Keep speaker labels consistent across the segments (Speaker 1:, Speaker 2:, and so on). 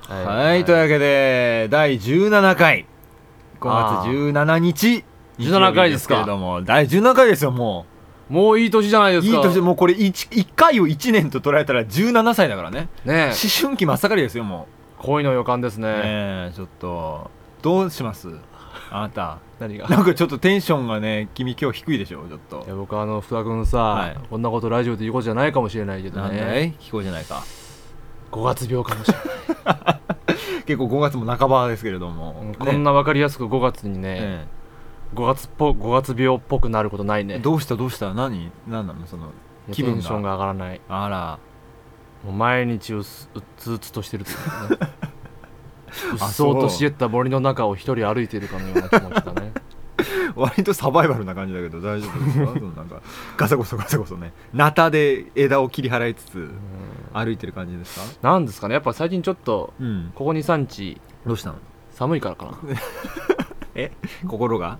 Speaker 1: はい
Speaker 2: はい、というわけで、第17回、5月17日、
Speaker 1: ー17回ですか
Speaker 2: 日曜日けれども、第17回ですよ、も
Speaker 1: もういい年じゃないで
Speaker 2: う。
Speaker 1: す
Speaker 2: い
Speaker 1: か
Speaker 2: い年、もうこれ1、一回を1年と捉えたら17歳だからね。
Speaker 1: ねえ
Speaker 2: 思春期真っ盛りですよ、も
Speaker 1: 恋の予感ですね
Speaker 2: う。ねえ、ちょっと、どうしますあなた。
Speaker 1: 何が
Speaker 2: なんかちょっとテンションがね、君今日低いでしょ、ちょっと
Speaker 1: いや。僕あの福田君さ、
Speaker 2: はい
Speaker 1: こんなことラジオで言うことじゃないかもしれないけど
Speaker 2: なんだ
Speaker 1: ね
Speaker 2: い聞こうじゃないか。
Speaker 1: 5月病かもし れない、
Speaker 2: 結構5月も半ばですけれども。
Speaker 1: うんこん
Speaker 2: ね。
Speaker 1: な分かりやすく5月にね、
Speaker 2: え
Speaker 1: 5月っぽ5月病っぽくなることない
Speaker 2: え
Speaker 1: ね
Speaker 2: どうしたどうした何何なのその
Speaker 1: いや
Speaker 2: 気分が
Speaker 1: テンションが上がらない
Speaker 2: あら
Speaker 1: もう毎日うすうっつうつとしてるというかねうっ
Speaker 2: あ
Speaker 1: そう
Speaker 2: そう
Speaker 1: と茂った森の中を一人歩いているかのような気持ちだね
Speaker 2: 割とサバイバルな感じだけど大丈夫ですかそのなんかガサゴソガサゴソねナタで枝を切り払いつつ歩いてる感じですか
Speaker 1: なんですかねやっぱ最近ちょっと
Speaker 2: うん
Speaker 1: ここ23日
Speaker 2: どうしたの
Speaker 1: 寒いからかな
Speaker 2: え心が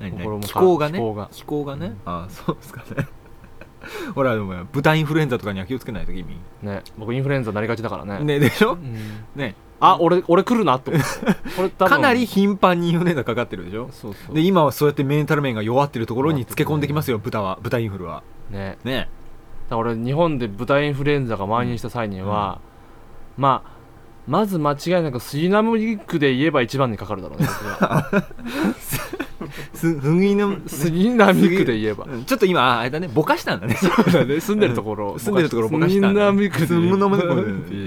Speaker 2: 何
Speaker 1: 心
Speaker 2: 何
Speaker 1: もか
Speaker 2: 気候がね
Speaker 1: 気候が
Speaker 2: ね、あそうですかね ほらでも豚インフルエンザとかには気をつけないと君
Speaker 1: ね僕インフルエンザなりがちだからね
Speaker 2: ねでし
Speaker 1: う
Speaker 2: ょ
Speaker 1: ん
Speaker 2: ね
Speaker 1: あ俺俺来るなって思って俺多分
Speaker 2: かなり頻繁にインフルエンザかかってるでしょ
Speaker 1: そうそう
Speaker 2: で今はそうやってメンタル面が弱ってるところにつけ込んできますよ豚は豚インフルは
Speaker 1: ね
Speaker 2: ね
Speaker 1: だから俺日本で豚インフルエンザが蔓延した際には、まあまず間違いなく杉並区で言えば一番にかかるだろうね僕 は
Speaker 2: す不義の
Speaker 1: 杉並区で言えば
Speaker 2: うんちょっと今あれだねぼかしたんだね
Speaker 1: 住んでるところ、
Speaker 2: 住んでるところぼかした
Speaker 1: 杉
Speaker 2: んだ、
Speaker 1: 並区で
Speaker 2: 住むのもね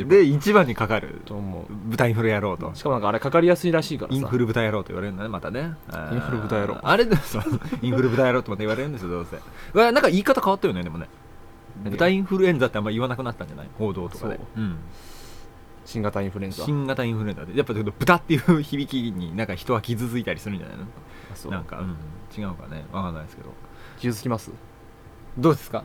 Speaker 2: で一番にかかる
Speaker 1: と思
Speaker 2: 豚インフル野郎と
Speaker 1: うしかもなんかあれかかりやすいらしいからさ
Speaker 2: インフル豚野郎と言われるんだねまたねあー
Speaker 1: インフル豚野郎
Speaker 2: あれでそうインフル豚野郎ってまた言われるんですよどうせうわなんか言い方変わったよねでもね
Speaker 1: 何が
Speaker 2: 豚インフルエンザってあんま言わなくなったんじゃない報道とかで
Speaker 1: そう
Speaker 2: うん
Speaker 1: 新型インフルエンザ
Speaker 2: 新型インフルエンザでやっぱちょっと豚っていう響きになんか人は傷ついたりするんじゃないの
Speaker 1: あそう
Speaker 2: なんか、うん、違うかねわかんないですけど
Speaker 1: 傷つきます
Speaker 2: どうですか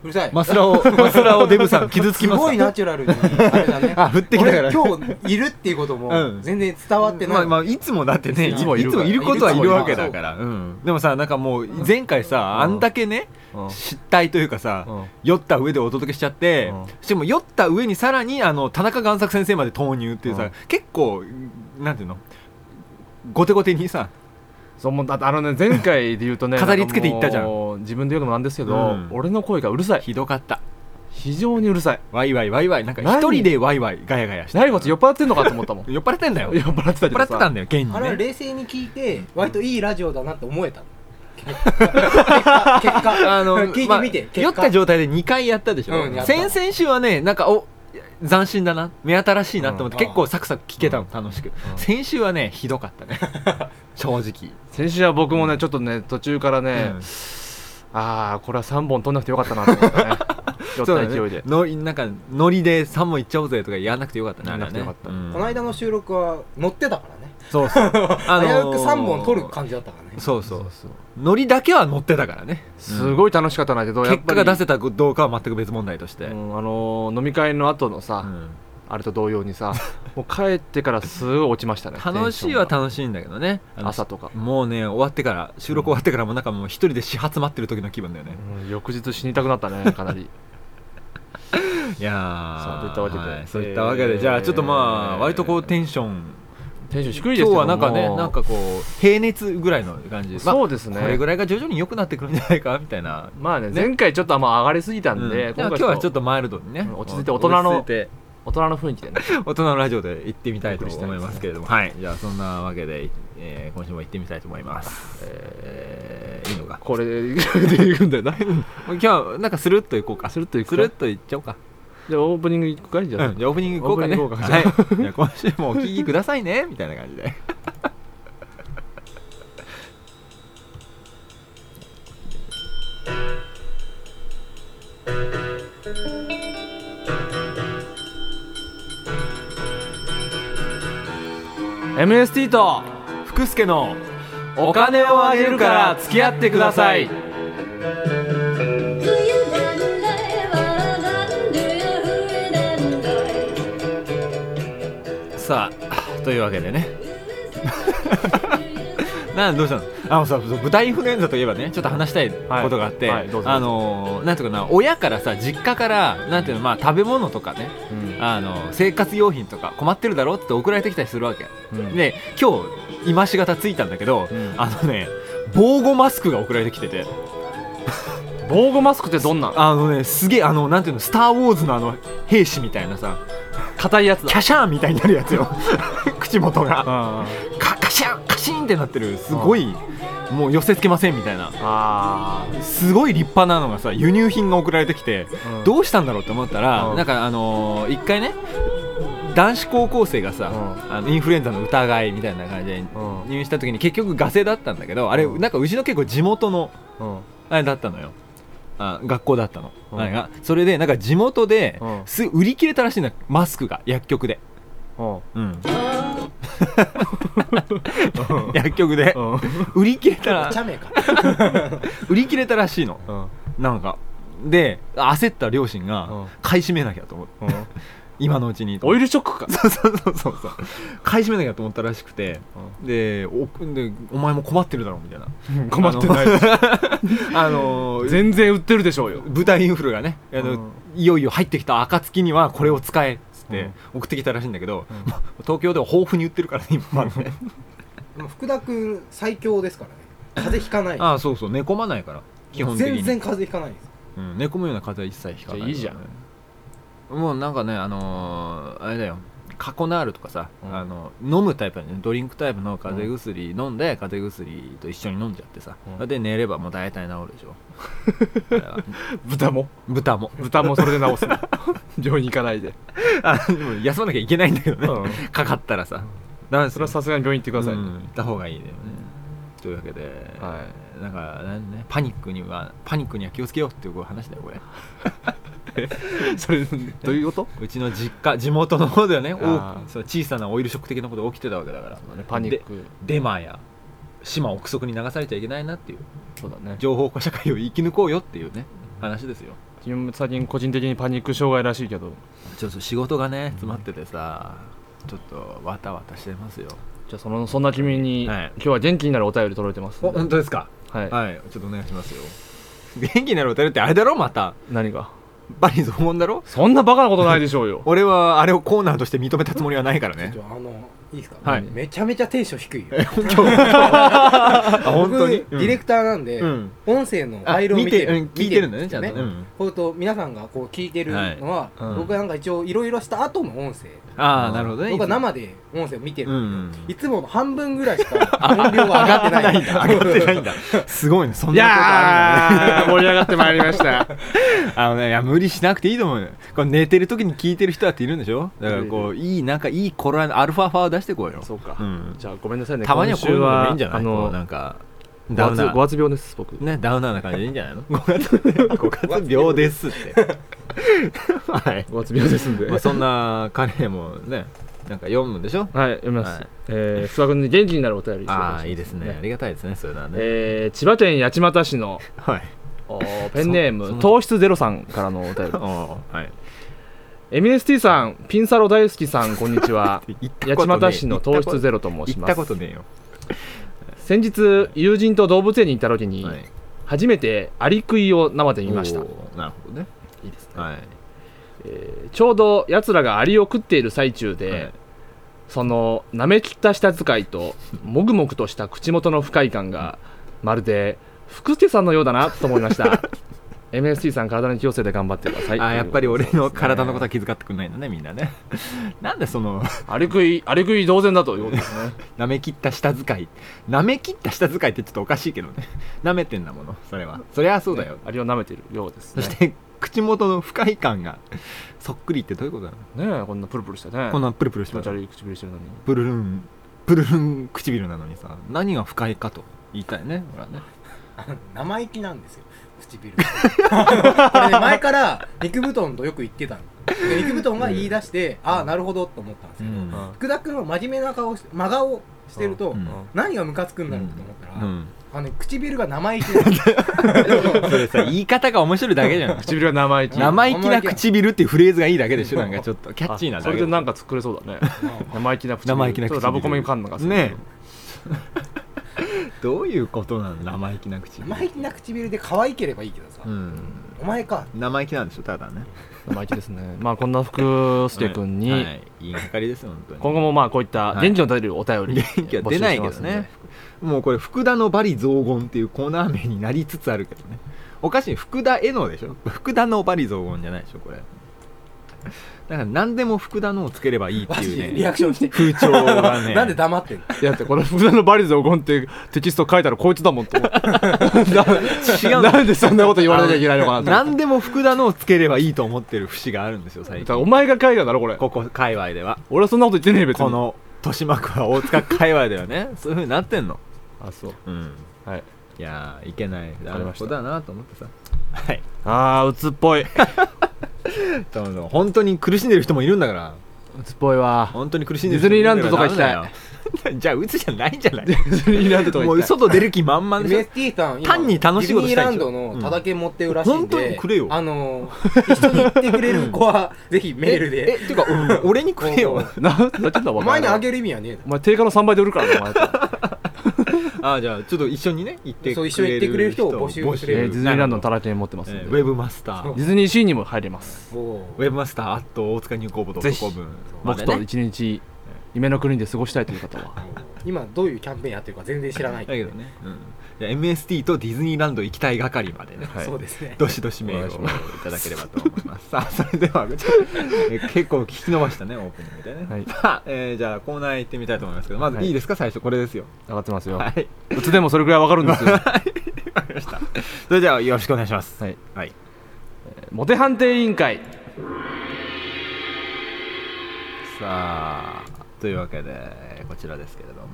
Speaker 3: うるさい。
Speaker 2: マスラオマスラオデブさん傷つき
Speaker 3: す
Speaker 2: ますか。
Speaker 3: ごいナチュラルに、あれだね
Speaker 2: あ降ってきたから
Speaker 3: 俺今日いるっていうこと
Speaker 2: うん
Speaker 3: も、全然伝わってない。
Speaker 2: まあまあいつもだってねい
Speaker 3: い
Speaker 2: つ
Speaker 3: つ
Speaker 2: も
Speaker 3: も
Speaker 2: い
Speaker 1: いる
Speaker 2: る
Speaker 1: から
Speaker 2: ことはい
Speaker 3: いつもい
Speaker 2: る
Speaker 3: る
Speaker 2: わけだから、うんでもさなんかもう前回さあんだけね
Speaker 1: うん
Speaker 2: 失態というかさ
Speaker 1: うん
Speaker 2: 酔った上でお届けしちゃって
Speaker 1: うん
Speaker 2: しかも酔った上にさらにあの田中贋作先生まで投入っていう
Speaker 1: う
Speaker 2: さ
Speaker 1: ん
Speaker 2: 結構なんていうの後手後手にさ
Speaker 1: そうもうだってあのね前回で言うとね
Speaker 2: 飾りつけていったじゃん
Speaker 1: なかもう自分で言うのもなんですけど、
Speaker 2: うん
Speaker 1: 俺の声がうるさい
Speaker 2: ひどかった
Speaker 1: 非常にうるさい
Speaker 2: ワイワイワイワイなんか
Speaker 1: 何
Speaker 2: 一人でワイワイガヤガヤして
Speaker 1: 何こっち酔っ払ってんのかと思ったもん
Speaker 2: 酔っ払ってんだよ
Speaker 1: 酔っ払ってたけ
Speaker 2: 酔っ
Speaker 1: ど
Speaker 2: 払っ
Speaker 1: さ
Speaker 2: てたんだよ現に
Speaker 3: あれは
Speaker 2: ね
Speaker 3: 冷静に聞いて、割といいラジオだなって思 えた。結果、結果、
Speaker 2: あの
Speaker 3: 聞いてみて、
Speaker 2: まあ
Speaker 3: 結
Speaker 2: 酔っ
Speaker 3: 果
Speaker 2: た状態で2回やったでしょ、
Speaker 3: うんやった
Speaker 2: 先々週はねなんかお斬新だな目新しいなと思って、
Speaker 3: うん
Speaker 2: 結構サクサク聞けたの、楽しく、
Speaker 1: うん
Speaker 2: 先週はねひどかったね正直
Speaker 1: 先週は僕もねちょっとね途中からね、
Speaker 2: うん
Speaker 1: ああこれは3本取んなくてよかったなと思 ったね酔っ
Speaker 2: そう
Speaker 1: た
Speaker 2: だ
Speaker 1: 勢いで、
Speaker 2: ね、のなんかノリで3問いっちゃおうぜとかやらなくてよかったね
Speaker 1: やんなくてよかっ
Speaker 2: あ
Speaker 1: た
Speaker 2: れねうん
Speaker 3: この間の収録は乗ってたからね。
Speaker 2: そうそう、あ
Speaker 3: 危うく3本取る感じだったからね。
Speaker 2: そうそうノリだけは乗ってたからね
Speaker 1: すごい楽しかったんだけどやっ
Speaker 2: 結
Speaker 1: ぱ
Speaker 2: 果
Speaker 1: り
Speaker 2: が出せたかどうかは全く別問題として、
Speaker 1: うんあのー飲み会の後のさ、
Speaker 2: うん
Speaker 1: あれと同様に さもう帰ってからすごい落ちましたね
Speaker 2: 楽しいは
Speaker 1: テン
Speaker 2: 楽しいんだけどね
Speaker 1: ションが朝とか、
Speaker 2: もうね終わってから収録終わってからもなんかもう一人で始発待ってる時の気分だよね、
Speaker 1: うん翌日死にたくなったねかなり
Speaker 2: いやー
Speaker 1: そうといったわけで
Speaker 2: はいそういったわけで、じゃあちょっとまあ
Speaker 1: えー
Speaker 2: 割とこうテンション
Speaker 1: テンション低いですけ
Speaker 2: 今日
Speaker 1: ども
Speaker 2: はなんかねなんかこう平熱ぐらいの感じまあ
Speaker 1: そうですね、
Speaker 2: これぐらいが徐々に良くなってくるんじゃないかみたいな、
Speaker 1: まあね
Speaker 2: ね
Speaker 1: 前回ちょっとあんま上がりすぎたんで、
Speaker 2: うんでも今日はちょっ
Speaker 1: と
Speaker 2: とマイルドにね
Speaker 1: うん落ち着いて大人の
Speaker 2: 落ち着いて
Speaker 1: 大人の雰囲気でね
Speaker 2: 大人のラジオで行ってみたいと思いますけれども、はいじゃあそんなわけで、えー今週も行ってみたいと思います、えーいいのか
Speaker 1: これで でいくんだよな
Speaker 2: 今日はなんかスルッと行こうか
Speaker 1: スルッと行くか
Speaker 2: スルッと行っちゃおうか
Speaker 1: じゃあオープニング行くかいじゃあ、
Speaker 2: うんじゃあオープニング行こうかね
Speaker 1: オープニング行
Speaker 2: はいじゃあ今週もお聴きくださいねみたいな感じ で
Speaker 1: MST と
Speaker 2: 福助の
Speaker 1: お金をあげるから付き合ってくださいさ
Speaker 2: さあというわけでねなんどうしたのあのさそう豚インフルエンザといえばねちょっと話したいことがあって、
Speaker 1: はいはいどうぞ
Speaker 2: あのーなんていうかな親からさ実家からなんていうのまあ食べ物とかね
Speaker 1: うん
Speaker 2: あの生活用品とか困ってるだろって送られてきたりするわけ
Speaker 1: うん
Speaker 2: で今日今しがたついたんだけど、
Speaker 1: うん
Speaker 2: あのね防護マスクが送られてきてて
Speaker 1: 防護マスクってどんなん
Speaker 2: あのねすげえあのなんていうの「スター・ウォーズ」のあの兵士みたいなさ
Speaker 1: 硬いやつ
Speaker 2: キャシャーンみたいになるやつよ 口元が
Speaker 1: あ
Speaker 2: カカシャンカシーンってなってるすごいもう寄せつけませんみたいな
Speaker 1: あ
Speaker 2: すごい立派なのがさ輸入品が送られてきて
Speaker 1: うん
Speaker 2: どうしたんだろうって思ったら
Speaker 1: うん
Speaker 2: なんかあのー一回ね男子高校生がさ
Speaker 1: う
Speaker 2: あのインフルエンザの疑いみたいな感じで
Speaker 1: うん
Speaker 2: 入院した時に結局ガセだったんだけどあれ
Speaker 1: うん
Speaker 2: なんかうちの結構地元の
Speaker 1: うん
Speaker 2: あれだったのよあ学校だったの、
Speaker 1: うん
Speaker 2: あれがそれでなんか地元で
Speaker 1: うん
Speaker 2: す売り切れたらしいんだマスクが薬局で、
Speaker 1: うん
Speaker 2: 薬局で
Speaker 1: うん
Speaker 2: 売り切れたら
Speaker 3: お茶目か
Speaker 2: 売り切れたらしいの
Speaker 1: うん
Speaker 2: なんかで焦った両親
Speaker 1: うん
Speaker 2: が買い占めなきゃと思って
Speaker 1: うん
Speaker 2: 今のうちにと
Speaker 1: オ
Speaker 2: 思っ
Speaker 1: イルショックか
Speaker 2: てそうそうそうそうそう買い占めなきゃと思ったらしくてでおでお前も困ってるだろみたいな
Speaker 1: 困ってないです
Speaker 2: あのー
Speaker 1: 全然売ってるでしょうよ
Speaker 2: 舞台インフルがねあの、
Speaker 1: うん
Speaker 2: いよいよ入ってきた暁にはこれを使えっつっ
Speaker 1: う
Speaker 2: て
Speaker 1: ん
Speaker 2: 送ってきたらしいんだけど、
Speaker 1: うん
Speaker 2: ま東京では豊富に売ってるからね 今までね
Speaker 3: でも福田君最強ですからね風邪ひかない
Speaker 2: ああそうそう寝込まないから基本的に
Speaker 3: 全然風邪ひかないです
Speaker 2: うん、寝込むような風は一切ひかないからね
Speaker 1: いいじゃん
Speaker 2: もうなんかねあのーあれだよカコナールとかさ、
Speaker 1: うん
Speaker 2: あの飲むタイプのねドリンクタイプの風邪薬飲んで、風邪薬と一緒に飲んじゃってさ、
Speaker 1: うん
Speaker 2: で寝ればもう大体治るでしょあれは
Speaker 1: 豚も
Speaker 2: 豚も
Speaker 1: 豚もそれで 治すの病院行かないで
Speaker 2: あでも休まなきゃいけないんだけどね、
Speaker 1: うん
Speaker 2: かかったらさ、ダメです
Speaker 1: そ
Speaker 2: よ
Speaker 1: れはさすがに病院行ってください
Speaker 2: うん
Speaker 1: ね
Speaker 2: 行った方がいいだよねというわけで、
Speaker 1: は
Speaker 2: なんかなんねパニックにはパニックには気をつけようっていう話だよこれ
Speaker 1: それどういうこと
Speaker 2: うちの実家地元の方ではね
Speaker 1: あー
Speaker 2: 大きそう小さなオイルショック的なことが起きてたわけだから
Speaker 1: パニック
Speaker 2: でデマや島憶測に流されちゃいけないなっていう
Speaker 1: そうだね
Speaker 2: 情報化社会を生き抜こうよっていうね話ですよ
Speaker 1: 自分も最近個人的にパニック障害らしいけど
Speaker 2: ちょっと仕事がね詰まっててさちょっとわたわたしてますよ
Speaker 1: じゃあそのそんな君に
Speaker 2: はい
Speaker 1: 今日は元気になるお便り届いてますんで
Speaker 2: 当ですか
Speaker 1: はい
Speaker 2: はいちょっとお願いしますよ元気になるお便りってあれだろまた
Speaker 1: 何が
Speaker 2: バリ雑言だろ
Speaker 1: そんなバカなことないでしょう よ
Speaker 2: 俺はあれをコーナーとして認めたつもりはないからね
Speaker 3: ちょあのいいですか、
Speaker 2: はい
Speaker 3: めちゃめちゃテンション低いよ
Speaker 2: あ本当に
Speaker 3: 僕ディレクターなんで、
Speaker 2: うん
Speaker 3: 音声のファイルを
Speaker 2: あ
Speaker 3: 見てる
Speaker 2: 見てうん聞いてるんだねちゃんとね
Speaker 3: こう
Speaker 2: うん
Speaker 3: いうと皆さんがこう聞いてるのは、
Speaker 2: はいうん
Speaker 3: 僕なんか一応いろいろした後の音声
Speaker 2: ああなるほどね
Speaker 3: 僕は生で音声を見てるんで、
Speaker 2: うん
Speaker 3: いつもの半分ぐらいしか音量が上がってない
Speaker 2: 上がってないんだすごいねそん
Speaker 1: い
Speaker 2: なことあるんだね
Speaker 1: やー 盛り上がってまいりました
Speaker 2: あのねいや無理しなくていいと思うよこれ寝てる時に聞いてる人だっているんでしょだからこういいなんかいい頃合いのアルファファを出してこうよ
Speaker 1: そうか
Speaker 2: うん
Speaker 1: じゃあごめんなさいね
Speaker 2: たまにはこういうのでもいいんじゃない
Speaker 1: あ
Speaker 2: こうなん
Speaker 1: の
Speaker 2: かダ
Speaker 1: ダ
Speaker 2: ウナ
Speaker 1: ウご
Speaker 2: ー
Speaker 1: わつ病です僕
Speaker 2: ねダウナーな感じでいいんじゃ ないの五月五月病ですって はい
Speaker 1: ごわつ病 ですんで
Speaker 2: まあ
Speaker 1: はい
Speaker 2: そんな彼もねなんか読むんで しょ
Speaker 1: 読みま
Speaker 2: は
Speaker 1: す
Speaker 2: い
Speaker 1: えー福田君に元気になるお便り紹介しま
Speaker 2: ああいいですねありがたいですねそういうのはね、
Speaker 1: えー千葉県八街市の
Speaker 2: はい
Speaker 1: お ーペンネー
Speaker 2: そ
Speaker 1: ム
Speaker 2: そ
Speaker 1: 糖質ゼロさんからのお便り
Speaker 2: おーはい
Speaker 1: MST さんピンサロ大好きさんこんにちは
Speaker 2: 行ったこ
Speaker 1: 八
Speaker 2: とねえ
Speaker 1: 街市の糖質ゼロと申し
Speaker 2: 行っ
Speaker 1: ま
Speaker 2: た
Speaker 1: す
Speaker 2: ことねえよ
Speaker 1: 先日友人と動物園に行った時に、
Speaker 2: はい
Speaker 1: 初めてアリクイを生で見ました
Speaker 2: おーなるほどね
Speaker 1: いいですね
Speaker 2: はい
Speaker 1: ちょうどやつらがアリを食っている最中で、
Speaker 2: はい
Speaker 1: その舐めきった舌使いともぐもぐとした口元の不快感がまるで福助さんのようだなと思いました MST さん体に気をつけて頑張ってください
Speaker 2: あーやっぱり俺の体のこ
Speaker 1: だ
Speaker 2: とは気遣ってくんないんだねみんなね なんでその
Speaker 1: アリ食いアリ食い同然だということですね
Speaker 2: 舐め切った舌遣い舐め切った舌遣いってちょっとおかしいけどね舐めてんだものそれはそり ゃそうだよ、
Speaker 1: アリを舐めているようです
Speaker 2: そ
Speaker 1: ね
Speaker 2: して口元の不快感がそっくりってどういうことなの、
Speaker 1: ねえこんなプルプルしてね
Speaker 2: こんなプルプルし
Speaker 1: 気
Speaker 2: て
Speaker 1: 持ち
Speaker 2: た
Speaker 1: 悪い唇してるのに
Speaker 2: プルルンプルルン唇なのにさ何が不快かと言いたいねほらね
Speaker 3: 生意気なんですよ唇 これね前から肉布団とよく言ってたので肉布団が言い出して、ああなるほどと思ったんですけど、
Speaker 2: うん
Speaker 1: うん
Speaker 3: 福田君は真面目な顔して真顔してると、
Speaker 2: うん
Speaker 3: 何がムカつくんだろうと思ったら、
Speaker 2: うん
Speaker 3: あの唇が生意気なんですよ
Speaker 2: それさ言い方が面白いだけじゃん
Speaker 1: 唇が生意気
Speaker 2: 生意気な唇っていうフレーズがいいだけでしょなんかちょっとキャッチーな
Speaker 1: あ
Speaker 2: だ
Speaker 1: そ
Speaker 2: け
Speaker 1: れでなんか作 れそうだね生意気な唇
Speaker 2: 生意気な
Speaker 1: ちょ
Speaker 2: 唇
Speaker 1: っとラブコメ感のがする
Speaker 2: ねどういうことなの生意気な口
Speaker 3: 生意気な唇で可愛ければいいけどさ、
Speaker 2: うん
Speaker 3: お前か
Speaker 2: 生意気なんでしょただね
Speaker 1: 生意気ですねまあこんな福助君に、
Speaker 2: はい、いいがかりですよ本当に
Speaker 1: 今後もまあこういった元気の出るお便り、
Speaker 2: 元気は出ないけどねもうこれ福田のバリ雑言っていうコーナー名になりつつあるけどねおかしい福田へのでしょ福田のバリ雑言じゃないでしょこれだから何でも福田のをつければいいって
Speaker 3: マジで
Speaker 2: いう
Speaker 3: リア
Speaker 2: ね
Speaker 3: クションして
Speaker 2: 風潮がね
Speaker 3: なんで黙ってんの
Speaker 1: いやだってこの「福田のバリ雑言」っていうテキスト書いたらこいつだもんと思って
Speaker 2: 違う
Speaker 1: なんでそんなこと言われなきゃいけないのかなと思って
Speaker 2: 何でも福田のをつければいいと思ってる節があるんですよ
Speaker 1: だ
Speaker 2: 最
Speaker 1: か
Speaker 2: 近
Speaker 1: らお前が書いたんだろこれ
Speaker 2: ここ界隈では
Speaker 1: 俺はそんなこと言ってねえ別に
Speaker 2: この豊島区は大塚界隈ではねそういうふうになってんの
Speaker 1: あそう
Speaker 2: うん
Speaker 1: はい
Speaker 2: いやーいけない
Speaker 1: わかりました
Speaker 2: ことだなと思ってさはい
Speaker 1: あーうつっぽいう
Speaker 2: 多分本当に苦しんでる人もいるんだから
Speaker 1: つっぽいわ
Speaker 2: 本当に苦しんで
Speaker 1: ディズニー
Speaker 2: る人もいる
Speaker 1: ラ
Speaker 2: ん
Speaker 1: ン
Speaker 2: だ
Speaker 1: ドとか
Speaker 2: から
Speaker 1: 行きたい
Speaker 2: ダメだよじゃあ鬱じゃないじゃない
Speaker 1: ディズニーランドとか
Speaker 2: もう
Speaker 1: 行きたい
Speaker 2: 外出る気満々でし
Speaker 3: MST さん今
Speaker 2: 単に楽しいことしたいでしょ
Speaker 3: ディズニーランドのただけ持ってるらしいんで、
Speaker 2: うん本当にくれよ
Speaker 3: あのー一緒に行ってくれる子 はぜひメール
Speaker 2: え
Speaker 3: で
Speaker 2: えてか、うん俺にくれ
Speaker 3: おうお
Speaker 2: よ
Speaker 3: う
Speaker 1: ななっちゃったわ
Speaker 3: お前にあ
Speaker 1: る
Speaker 3: げる意味はねえだ
Speaker 1: お前定価の3倍で売るからなお前
Speaker 2: ああじゃあちょっと一緒にね行って
Speaker 3: そう一緒に行ってくれる人を募集す
Speaker 1: え
Speaker 3: る
Speaker 1: ーディズニーランドのた
Speaker 2: ら
Speaker 1: らけ持ってますんで、
Speaker 2: ウェブマスタ
Speaker 3: そう
Speaker 2: ー
Speaker 1: ディズニーシーにも入れます
Speaker 3: ろ
Speaker 2: ウェブマスターアット大塚入校部と
Speaker 1: ぜひ
Speaker 2: 分ま
Speaker 1: 僕
Speaker 2: で
Speaker 1: と
Speaker 2: ね
Speaker 1: 一日夢の国で過ごしたいという方は
Speaker 3: 今どういうキャンペーンやってるか全然知らない
Speaker 2: だけどね、うんじゃあ MST とディズニーランド行きたい係までね、
Speaker 1: はい
Speaker 3: そうですね
Speaker 2: どしどしメールをいただければと思い ます。さあ、それでは、ちょっとえ結構聞き伸ばしたね、オープニングでね。
Speaker 1: はい
Speaker 2: さあ、えーじゃあコーナー行ってみたいと思いますけど、まず
Speaker 1: はい
Speaker 2: いいですか、最初、これですよ。
Speaker 1: 上がってますよ、
Speaker 2: はい。
Speaker 1: うつでもそれくらいわかるんです よ、
Speaker 2: わかりました。それでは、よろしくお願いします。
Speaker 1: はい、
Speaker 2: はい。
Speaker 1: モテ判定委員会
Speaker 2: さあ、というわけで、こちらですけれども、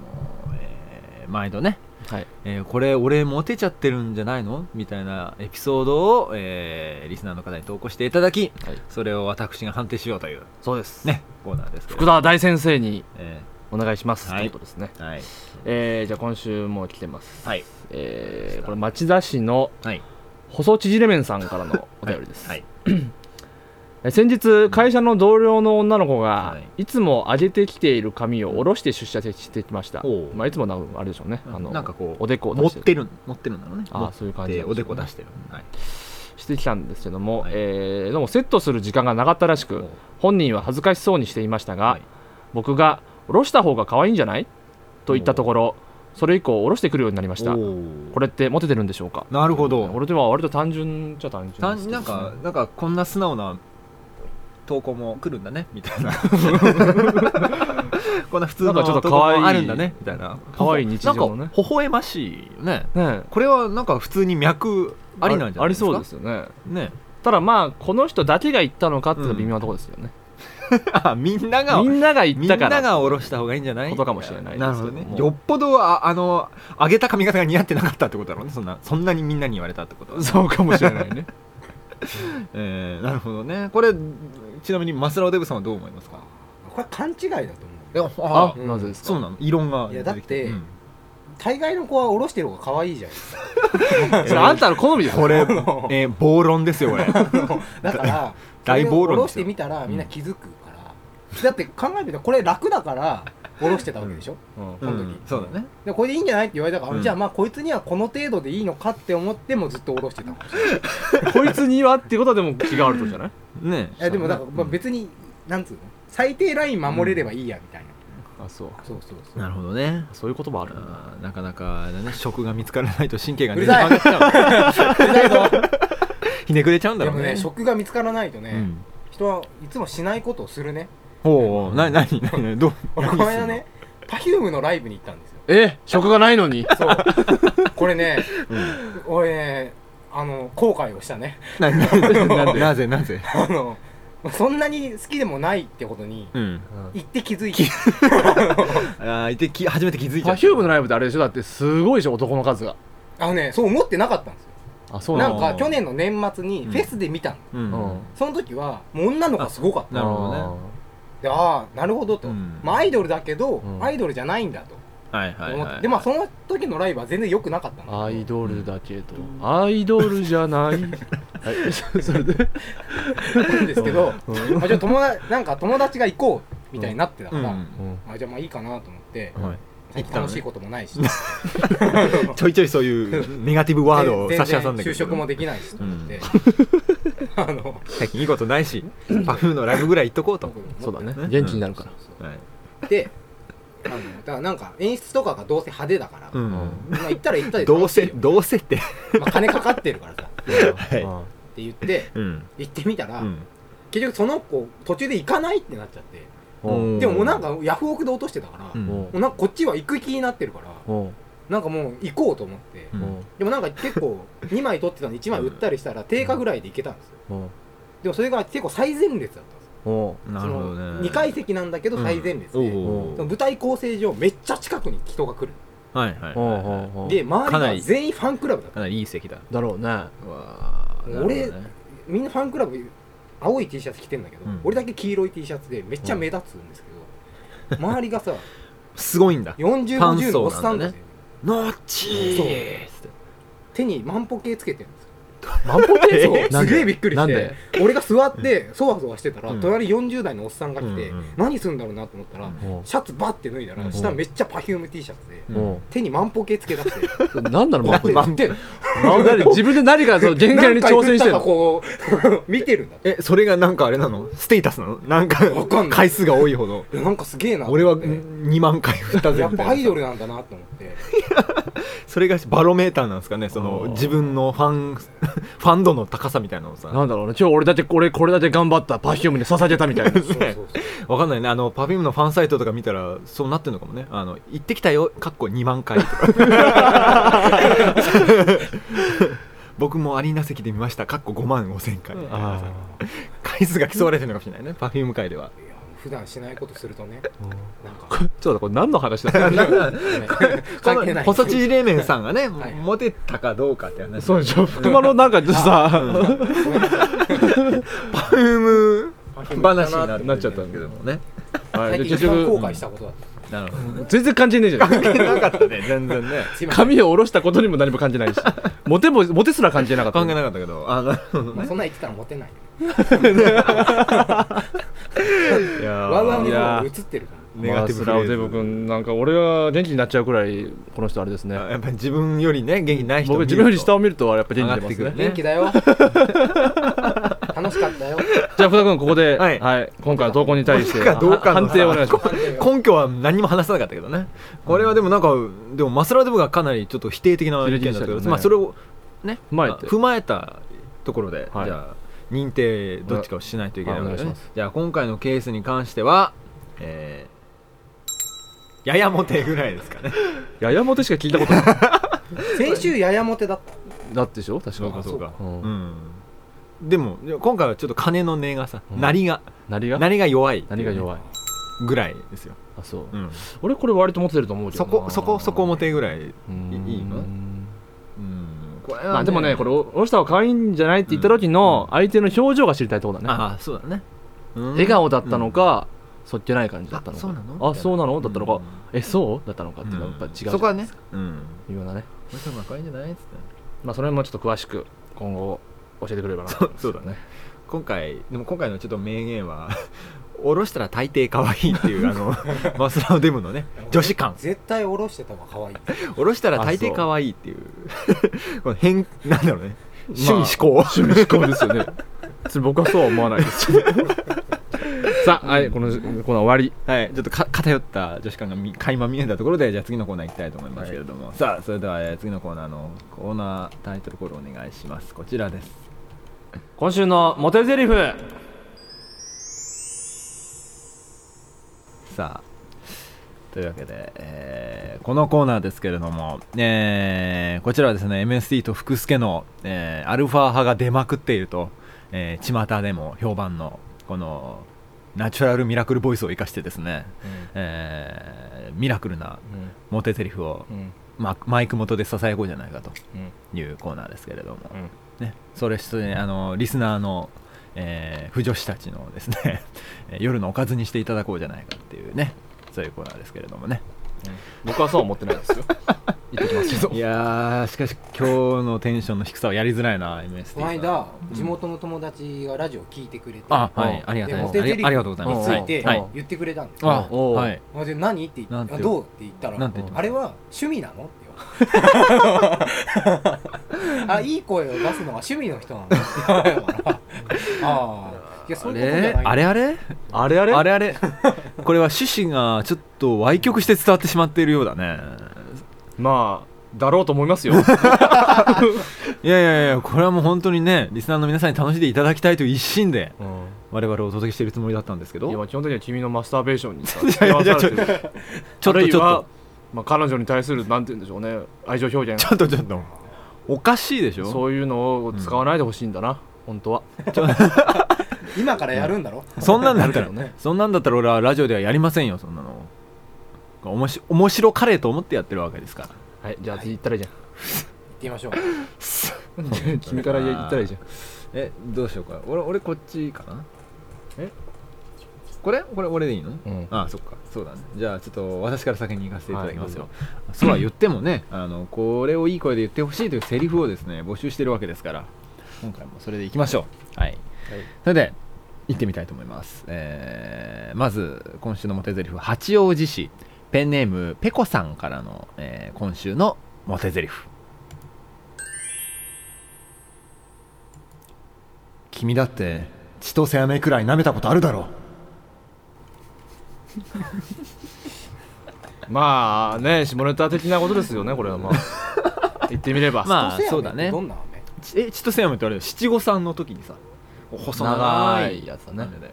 Speaker 2: えー毎度ね、
Speaker 1: はい
Speaker 2: えーこれ俺モテちゃってるんじゃないのみたいなエピソードを、えーリスナーの方に投稿していただき、
Speaker 1: はい
Speaker 2: それを私が判定しようという
Speaker 1: そうです
Speaker 2: ねコーナーですけど
Speaker 1: 福田大先生に
Speaker 2: え
Speaker 1: お願いします、
Speaker 2: はい
Speaker 1: ということですね、
Speaker 2: ーはい
Speaker 1: えーじゃあ今週も来てます、
Speaker 2: はい
Speaker 1: えーこれ町田市の
Speaker 2: はい
Speaker 1: 細縮れ麺さんからのお便りです、
Speaker 2: はい
Speaker 1: え先日会社の同僚の女の子が、、
Speaker 2: はい
Speaker 1: つも上げてきている髪を下ろして出社してきました、
Speaker 2: おう
Speaker 1: まあ、いつもなんかあれでしょうねあの
Speaker 2: なんかこう
Speaker 1: おでこを
Speaker 2: 持
Speaker 1: 出
Speaker 2: っ
Speaker 1: して
Speaker 2: てる持ってるんだろうね
Speaker 1: あー
Speaker 2: 持って
Speaker 1: そういう感じなんですね
Speaker 2: おでこ出してる、はい、
Speaker 1: してきたんですけども、
Speaker 2: はい
Speaker 1: えーでもセットする時間がなかったらし
Speaker 2: お
Speaker 1: く
Speaker 2: う
Speaker 1: 本人は恥ずかしそうにしていましたが、
Speaker 2: はい
Speaker 1: 僕が「下ろした方が可愛いんじゃない?」と言ったところそれ以降下ろしてくるようになりました
Speaker 2: お
Speaker 1: こ
Speaker 2: ー
Speaker 1: れってモテてるんでしょうか
Speaker 2: なるほど
Speaker 1: 俺では割と単純じゃ単純
Speaker 2: た
Speaker 1: ですけどね
Speaker 2: なんかなんかこんな素直な投稿も来るんだねみた いなこんな普通
Speaker 1: な
Speaker 2: の
Speaker 1: んかちょ
Speaker 2: 投
Speaker 1: っと
Speaker 2: 稿
Speaker 1: 可愛い
Speaker 2: もあるんだねみたいな
Speaker 1: 可愛い日常のね
Speaker 2: なんか微笑ましいよね
Speaker 1: ね
Speaker 2: これはなんか普通に脈ありなんじゃないですか
Speaker 1: ありそうですよね
Speaker 2: ね
Speaker 1: ただまあこの人だけが言ったのかっていうのは微妙なところですよね、
Speaker 2: あみんなが
Speaker 1: みんなが言ったから
Speaker 2: みんなが下ろした方がいいんじゃない
Speaker 1: ことかもしれないですけど
Speaker 2: なるほどね
Speaker 1: もう
Speaker 2: よっぽどああの上げた髪型が似合ってなかったってことだろうねそんなそんなにみんなに言われたってことは、
Speaker 1: そうかもしれないね
Speaker 2: えーなるほどねこれちなみにマスラオデブさんはどう思いますか
Speaker 3: これ勘違いだと思う
Speaker 2: いや
Speaker 1: あ
Speaker 2: あ
Speaker 3: うん
Speaker 1: なぜですか
Speaker 2: そうなの異論が
Speaker 3: いやだって
Speaker 2: うん
Speaker 3: 大概の子は下ろしてる方が可愛いじゃないですか
Speaker 1: それあんたの好みです
Speaker 2: これ、え
Speaker 3: の
Speaker 2: ー、暴論ですよこれ
Speaker 3: だから
Speaker 2: 大暴論ですよ
Speaker 3: それを下ろしてみたらみんな気づくから、だって考えてみたらこれ楽だから下ろしてたわけでしょ、
Speaker 1: うん
Speaker 3: この時
Speaker 2: うんそうだね
Speaker 3: でこれでいいんじゃないって言われたから、
Speaker 2: うん
Speaker 3: じゃあまあこいつにはこの程度でいいのかって思ってもずっと下ろしてたのかもしれない
Speaker 1: こいつにはっていうことはでも気があるとじゃない
Speaker 2: ね
Speaker 3: いやでもだから、まあ、別になんつうの最低ライン守れればいいやみたい な、
Speaker 1: あそう
Speaker 3: そうそうそう
Speaker 2: なるほどね
Speaker 1: そういう言葉あるんだ
Speaker 2: あーなかなか、ね、職が見つからないと神経が
Speaker 3: うるさい
Speaker 2: ねじ曲がっちゃう
Speaker 3: で
Speaker 2: ひねくれちゃうんだろう
Speaker 3: も
Speaker 2: ね
Speaker 3: ね職が見つからないとね、
Speaker 2: うん
Speaker 3: 人はいつもしないことをするね
Speaker 2: おうおうななになになにどう
Speaker 3: 俺この間ね Perfume のライブに行ったんですよ
Speaker 1: え職がないのに
Speaker 3: そうこれね、俺ねあの後悔をしたね
Speaker 2: なな ななぜなぜ
Speaker 3: あのそんなに好きでもないってことに
Speaker 2: うん
Speaker 3: 行って気づいて
Speaker 2: ああいてき初めて気づいちゃった
Speaker 1: Perfume のライブってあれでしょだってすごいでしょ男の数が
Speaker 3: あのねそう思ってなかったんですよ
Speaker 1: あそ
Speaker 3: な
Speaker 2: なの
Speaker 3: んか去年の年末にフェスで見たの、
Speaker 2: うん
Speaker 1: うん
Speaker 3: その時はもう女の子がすごかった
Speaker 2: なるほどね
Speaker 3: でああなるほどと、
Speaker 2: うん
Speaker 3: まあ、アイドルだけど、
Speaker 1: うん
Speaker 3: アイドルじゃないんだと
Speaker 2: はいは
Speaker 3: 思って、
Speaker 2: いはい
Speaker 3: でまあその時のライブは全然良くなかったの
Speaker 1: アイドルだけどアイドルじゃ ないはいそそれで
Speaker 3: なんですけど、
Speaker 1: うん
Speaker 3: まあ、じゃあ友達なんか友達が行こうみたいになってたか
Speaker 2: う
Speaker 3: ら、
Speaker 2: ん
Speaker 1: うん
Speaker 3: あじゃあまあいいかなと思って、
Speaker 2: はい
Speaker 3: 最近楽しいこともないし、
Speaker 2: ちょいちょいそういうネガティブワードを差し挟んで
Speaker 3: 全然就職もできないしと思って、 あの
Speaker 2: 最近いいことない しパフーのライブぐらい行っとこうと、
Speaker 1: そうだね
Speaker 2: うん
Speaker 1: 現地になるから、
Speaker 2: はい
Speaker 3: であのだからなんか演出とかがどうせ派手だから、
Speaker 2: うん
Speaker 3: まあ行ったら行ったで
Speaker 2: どう
Speaker 3: 楽しい
Speaker 2: せ
Speaker 3: よ
Speaker 2: どうせって、
Speaker 3: まあ、金かかってるからさっ
Speaker 2: は
Speaker 3: て言って
Speaker 2: いうん
Speaker 3: 行ってみたら、
Speaker 2: うん
Speaker 3: 結局その子途中で行かないってなっちゃって
Speaker 1: うん
Speaker 3: でももうなんかヤフオクで落としてたから、
Speaker 2: う
Speaker 3: も
Speaker 2: ん
Speaker 1: うん
Speaker 3: うなんかこっちは行く気になってるから
Speaker 1: うん
Speaker 3: なんかもう行こうと思って、
Speaker 2: うん
Speaker 3: でもなんか結構2枚取ってたの1枚売ったりしたら定価ぐらいで行けたんですよ
Speaker 1: うん
Speaker 3: でもそれが結構最前列だったんですよ
Speaker 1: うん
Speaker 2: なるほどね
Speaker 3: 2階席なんだけど最前列で、
Speaker 2: お
Speaker 3: その
Speaker 2: ー
Speaker 3: 舞台構成上めっちゃ近くに人が来る
Speaker 2: はいはいはい
Speaker 1: うん
Speaker 2: は
Speaker 1: うんうん
Speaker 3: で周
Speaker 2: か
Speaker 3: り
Speaker 2: な
Speaker 3: が
Speaker 2: り
Speaker 3: 全員ファンクラブだっ
Speaker 2: い
Speaker 3: た
Speaker 2: かなりいい席だ
Speaker 1: だろうね
Speaker 2: わーなるほどね
Speaker 3: 俺みんなファンクラブ青い T シャツ着てんだけど、
Speaker 2: うん
Speaker 3: 俺だけ黄色い T シャツでめっちゃ目立つんですけど、周りがさ
Speaker 2: すごいんだ
Speaker 3: 4050のおっさんたちで
Speaker 2: ノッチー
Speaker 3: 手に万歩計つけてるんですよ
Speaker 1: 万歩計
Speaker 2: え
Speaker 1: そうなんです
Speaker 3: げえびっくり
Speaker 1: な
Speaker 3: し
Speaker 1: ん
Speaker 3: て
Speaker 1: で
Speaker 3: 俺が座ってそわそわしてたら、
Speaker 2: うん
Speaker 3: 隣40代のおっさんが来て、
Speaker 2: うんうん
Speaker 3: 何するんだろうなと思ったら、
Speaker 2: うん
Speaker 1: う
Speaker 3: シャツバッて脱いだら、
Speaker 2: うん
Speaker 3: 下めっちゃ PerfumeT シャツで、
Speaker 2: うん
Speaker 3: 手に万歩計つけ出して
Speaker 1: うんなんなの万歩計
Speaker 2: なん
Speaker 3: で
Speaker 1: 何自分で何かその限界に挑戦して
Speaker 3: 何回振った
Speaker 1: る
Speaker 3: か
Speaker 1: の
Speaker 3: こう 見てるんだって
Speaker 2: えそれがなんかあれなのステータスなのなんか
Speaker 3: わかんない
Speaker 2: 回数が多いほど
Speaker 3: なんかすげえなと思
Speaker 2: 俺は
Speaker 3: って
Speaker 2: 2万回振ったぜ
Speaker 3: やっ
Speaker 2: み
Speaker 3: ぱア
Speaker 2: た
Speaker 3: イ
Speaker 2: い
Speaker 3: ド
Speaker 2: な
Speaker 3: ルなんだなと思って
Speaker 2: それがバロメーターなんですかねそ
Speaker 1: あー
Speaker 2: の自分のファンファン度の高さみたいなのをさ
Speaker 1: なんだろうね今日俺だってこれこれだけ頑張ったパフュームに捧げたみ たいな
Speaker 3: そうそうそう
Speaker 2: わかんないねあの Perfume のファンサイトとか見たらそうなってるのかもねあの行ってきたよかっこ2万回とか僕もアリーナ席で見ましたかっこ5万5千回
Speaker 1: あ
Speaker 2: 回数が競われてるのかもしれないね Perfume 界ではい
Speaker 3: や普段しないことするとねなん
Speaker 1: あ
Speaker 3: か
Speaker 1: ちょっと これ何の話だった
Speaker 3: 関係ない
Speaker 2: 細縮冷麺さんがね、
Speaker 3: はい
Speaker 2: モテたかどうかって話
Speaker 1: そうでしょ福間のなんかちょっと さ
Speaker 3: ごめんなさい
Speaker 2: Perfume 話にな
Speaker 1: なっちゃったんだけども
Speaker 2: ね
Speaker 1: はい
Speaker 3: 最
Speaker 1: で
Speaker 3: 近
Speaker 1: 結
Speaker 3: 一番後
Speaker 1: 局
Speaker 3: 悔したことだった
Speaker 2: なるほど
Speaker 1: 全然感じねえじゃん
Speaker 2: なか ったね全然ね
Speaker 3: すいませ ん
Speaker 1: 髪を下ろしたことにも何も感じないし モテもモテすら感じなかった
Speaker 2: 関係なかったけどあなるほど
Speaker 3: まあ
Speaker 2: ね
Speaker 3: そんなん言ってたらモテないよ
Speaker 2: いや
Speaker 3: ワウワウ
Speaker 2: ー
Speaker 3: に
Speaker 1: いや
Speaker 3: 映ってるから
Speaker 2: ネガティ
Speaker 1: まあス
Speaker 2: ブ
Speaker 1: ラオゼブ
Speaker 2: フレーズ
Speaker 1: 君なんか俺は元気になっちゃうくらいこの人あれですね
Speaker 2: やっぱり自分よりね元気ない人
Speaker 1: 僕自分より下を見るとやっぱ元気出ます
Speaker 2: 上が
Speaker 1: ね
Speaker 2: ってくるね
Speaker 3: 元気だよ楽しかったよ
Speaker 1: じゃあ福田君ここで、は
Speaker 2: はいい
Speaker 1: 今回の投稿に対して
Speaker 2: 僕がどうかの
Speaker 1: 判定をお願いします
Speaker 2: 根拠は何も話さなかったけどねこれはでもなんかでもマスラーデブがかなりちょっと否定的な意見だったけ
Speaker 1: 否定的でしたね
Speaker 2: ど、まあ、それをね
Speaker 1: 踏まえて
Speaker 2: 踏まえたところで、
Speaker 1: はい
Speaker 2: じゃあ認定どっちかをしないといけないわけ
Speaker 1: はい
Speaker 2: で
Speaker 1: お願い
Speaker 2: ね
Speaker 1: しま
Speaker 2: じゃあ今回のケースに関してはえーややモテぐらいです かね
Speaker 1: ややもてしか聞いたことない
Speaker 3: 先週ややモテだった
Speaker 1: だってで しょ確か
Speaker 3: うかそうか
Speaker 1: うん
Speaker 2: うんでも今回はちょっと金の値がさ、
Speaker 1: うん
Speaker 2: 鳴りが
Speaker 1: なりが
Speaker 2: 鳴りが弱い
Speaker 1: なりが弱い
Speaker 2: ぐらいですよ、
Speaker 1: あそう、
Speaker 2: うん
Speaker 1: 俺これ割とモテてると思うけど
Speaker 2: そ
Speaker 1: な
Speaker 2: こそこそこモテぐらい、
Speaker 1: うん
Speaker 2: いいのうんこれは
Speaker 1: まあでもねこれおろした方が可愛いんじゃないって言った時の相手の表情が知りたいところだね、
Speaker 2: ああそうだね、うん
Speaker 1: 笑顔だったのか、そっけない感じだったのか
Speaker 2: あそうなの
Speaker 1: あそうなのだったのか、
Speaker 2: うん
Speaker 1: えそうだったのかっていうのはやっぱ違うじゃん
Speaker 2: そこはねうん
Speaker 1: 微妙なね
Speaker 2: これ多分赤いんじゃないっつって
Speaker 1: まあその辺もちょっと詳しく今後教えてくれればな
Speaker 2: そうそうだね今回でも今回のちょっと名言は 下ろしたら大抵可愛いっ ていうあのマスラオデムのね女子感
Speaker 3: 絶対下ろしてた方が可愛い
Speaker 2: 下ろしたら大抵可愛いっていう この変なんだろうね趣味思考、
Speaker 1: 趣味思考ですよねそれ僕はそうは思わない ですけどさあ、はい、このコーナー終わり
Speaker 2: はい、ちょっとか偏った女子感がみ垣間見えたところでじゃあ次のコーナー行きたいと思いますけれども、さあそれではえー次のコーナーのコーナータイトルコールお願いしますこちらです
Speaker 1: 今週のモテゼリフ
Speaker 2: さあというわけで、えーこのコーナーですけれども、えーこちらはですね MST と福助の、えーアルファ派が出まくっていると、えー巷でも評判のこのナチュラルミラクルボイスを生かしてですね、えーミラクルなモテゼリフを、
Speaker 1: ん
Speaker 2: ま、マイク元で支えようじゃないかと
Speaker 1: うん
Speaker 2: いうコーナーですけれども、
Speaker 1: うん
Speaker 2: ね、それして、ね、あのリスナーの、えー、腐女子たちのですね えー夜のおかずにしていただこうじゃないかっていうねそういうコーナーですけれどもね
Speaker 1: 僕はそうは思ってないですよ行ってきますけど
Speaker 2: いやーしかし今日のテンションの低さはやりづらいな MST
Speaker 3: この
Speaker 2: さん
Speaker 3: 間地元の友達がラジオ聞いてくれて
Speaker 2: あは
Speaker 1: う
Speaker 2: い
Speaker 1: ん
Speaker 2: ありがたい
Speaker 3: で
Speaker 2: で
Speaker 3: モ
Speaker 2: す
Speaker 3: テ
Speaker 2: あり
Speaker 3: テリ
Speaker 2: ありがとうござい
Speaker 3: に
Speaker 2: ま
Speaker 3: つ
Speaker 2: す
Speaker 1: うん
Speaker 3: いて
Speaker 2: はい
Speaker 3: 言ってくれたんです
Speaker 2: あ
Speaker 3: よ
Speaker 1: おう
Speaker 2: はい
Speaker 3: あで何って言
Speaker 2: なん
Speaker 3: っててあどうって言ったら
Speaker 2: なんて言った
Speaker 3: あれは趣味なのって 言われてあいい声を出すのが趣味の人なのって言われたからああいやそういうことじゃない
Speaker 2: あれあれ
Speaker 1: あれあれ
Speaker 2: あれあれ これは趣旨がちょっと歪曲して伝わってしまっているようだね
Speaker 1: まあだろうと思いますよ
Speaker 2: いやいやいやこれはもう本当にねリスナーの皆さんに楽しんでいただきたいという一心で
Speaker 1: うん
Speaker 2: 我々をお届けしているつもりだったんですけど
Speaker 1: いやまあ基本的には君のマスターベーションにさ
Speaker 2: いやいやちょ
Speaker 1: 付き合わされてる
Speaker 2: ちょ
Speaker 1: あ
Speaker 2: っと
Speaker 1: るい
Speaker 2: ちょっ
Speaker 1: は
Speaker 2: と
Speaker 1: まあ、彼女に対するなんて言うんでしょうね愛情表 現
Speaker 2: ちょっとちょっとおかしいでしょ
Speaker 1: そういうのを使わないでほしいんだな、本当は
Speaker 3: 今からやるんだろ
Speaker 2: そんなんだったら
Speaker 1: なるけどね
Speaker 2: そんなんだったら俺はラジオではやりませんよそんなのおもし面白カレーと思ってやってるわけですから
Speaker 1: はいじゃあ次行ったらいいじ
Speaker 3: 行ってみましょう
Speaker 1: ゃん君から言ったらいいじゃん
Speaker 2: えどうしようか俺俺こっちかな
Speaker 1: え
Speaker 2: これこれ俺でいいの、
Speaker 1: うん
Speaker 2: ああそっかそうだねじゃあちょっと私から先に行かせていただきますよ、
Speaker 1: は
Speaker 2: そうは言ってもねあのこれをいい声で言ってほしいというセリフをですね募集してるわけですから今回もそれでいきましょうはい、それで行ってみたいと思います、えーまず今週のモテゼリフ八王子市ペンネームペコさんからの、えー今週のモテゼリフ君だって千歳飴くらい舐めたことあるだろう
Speaker 1: まあね下ネタ的なことですよねこれはまあ 言ってみれば、
Speaker 2: まあ
Speaker 3: どせやね
Speaker 2: そうだね
Speaker 3: どんな雨
Speaker 2: ちえ千歳飴ってあれだよ七五三の時にさ細
Speaker 1: 長いやつだね
Speaker 2: あれだよ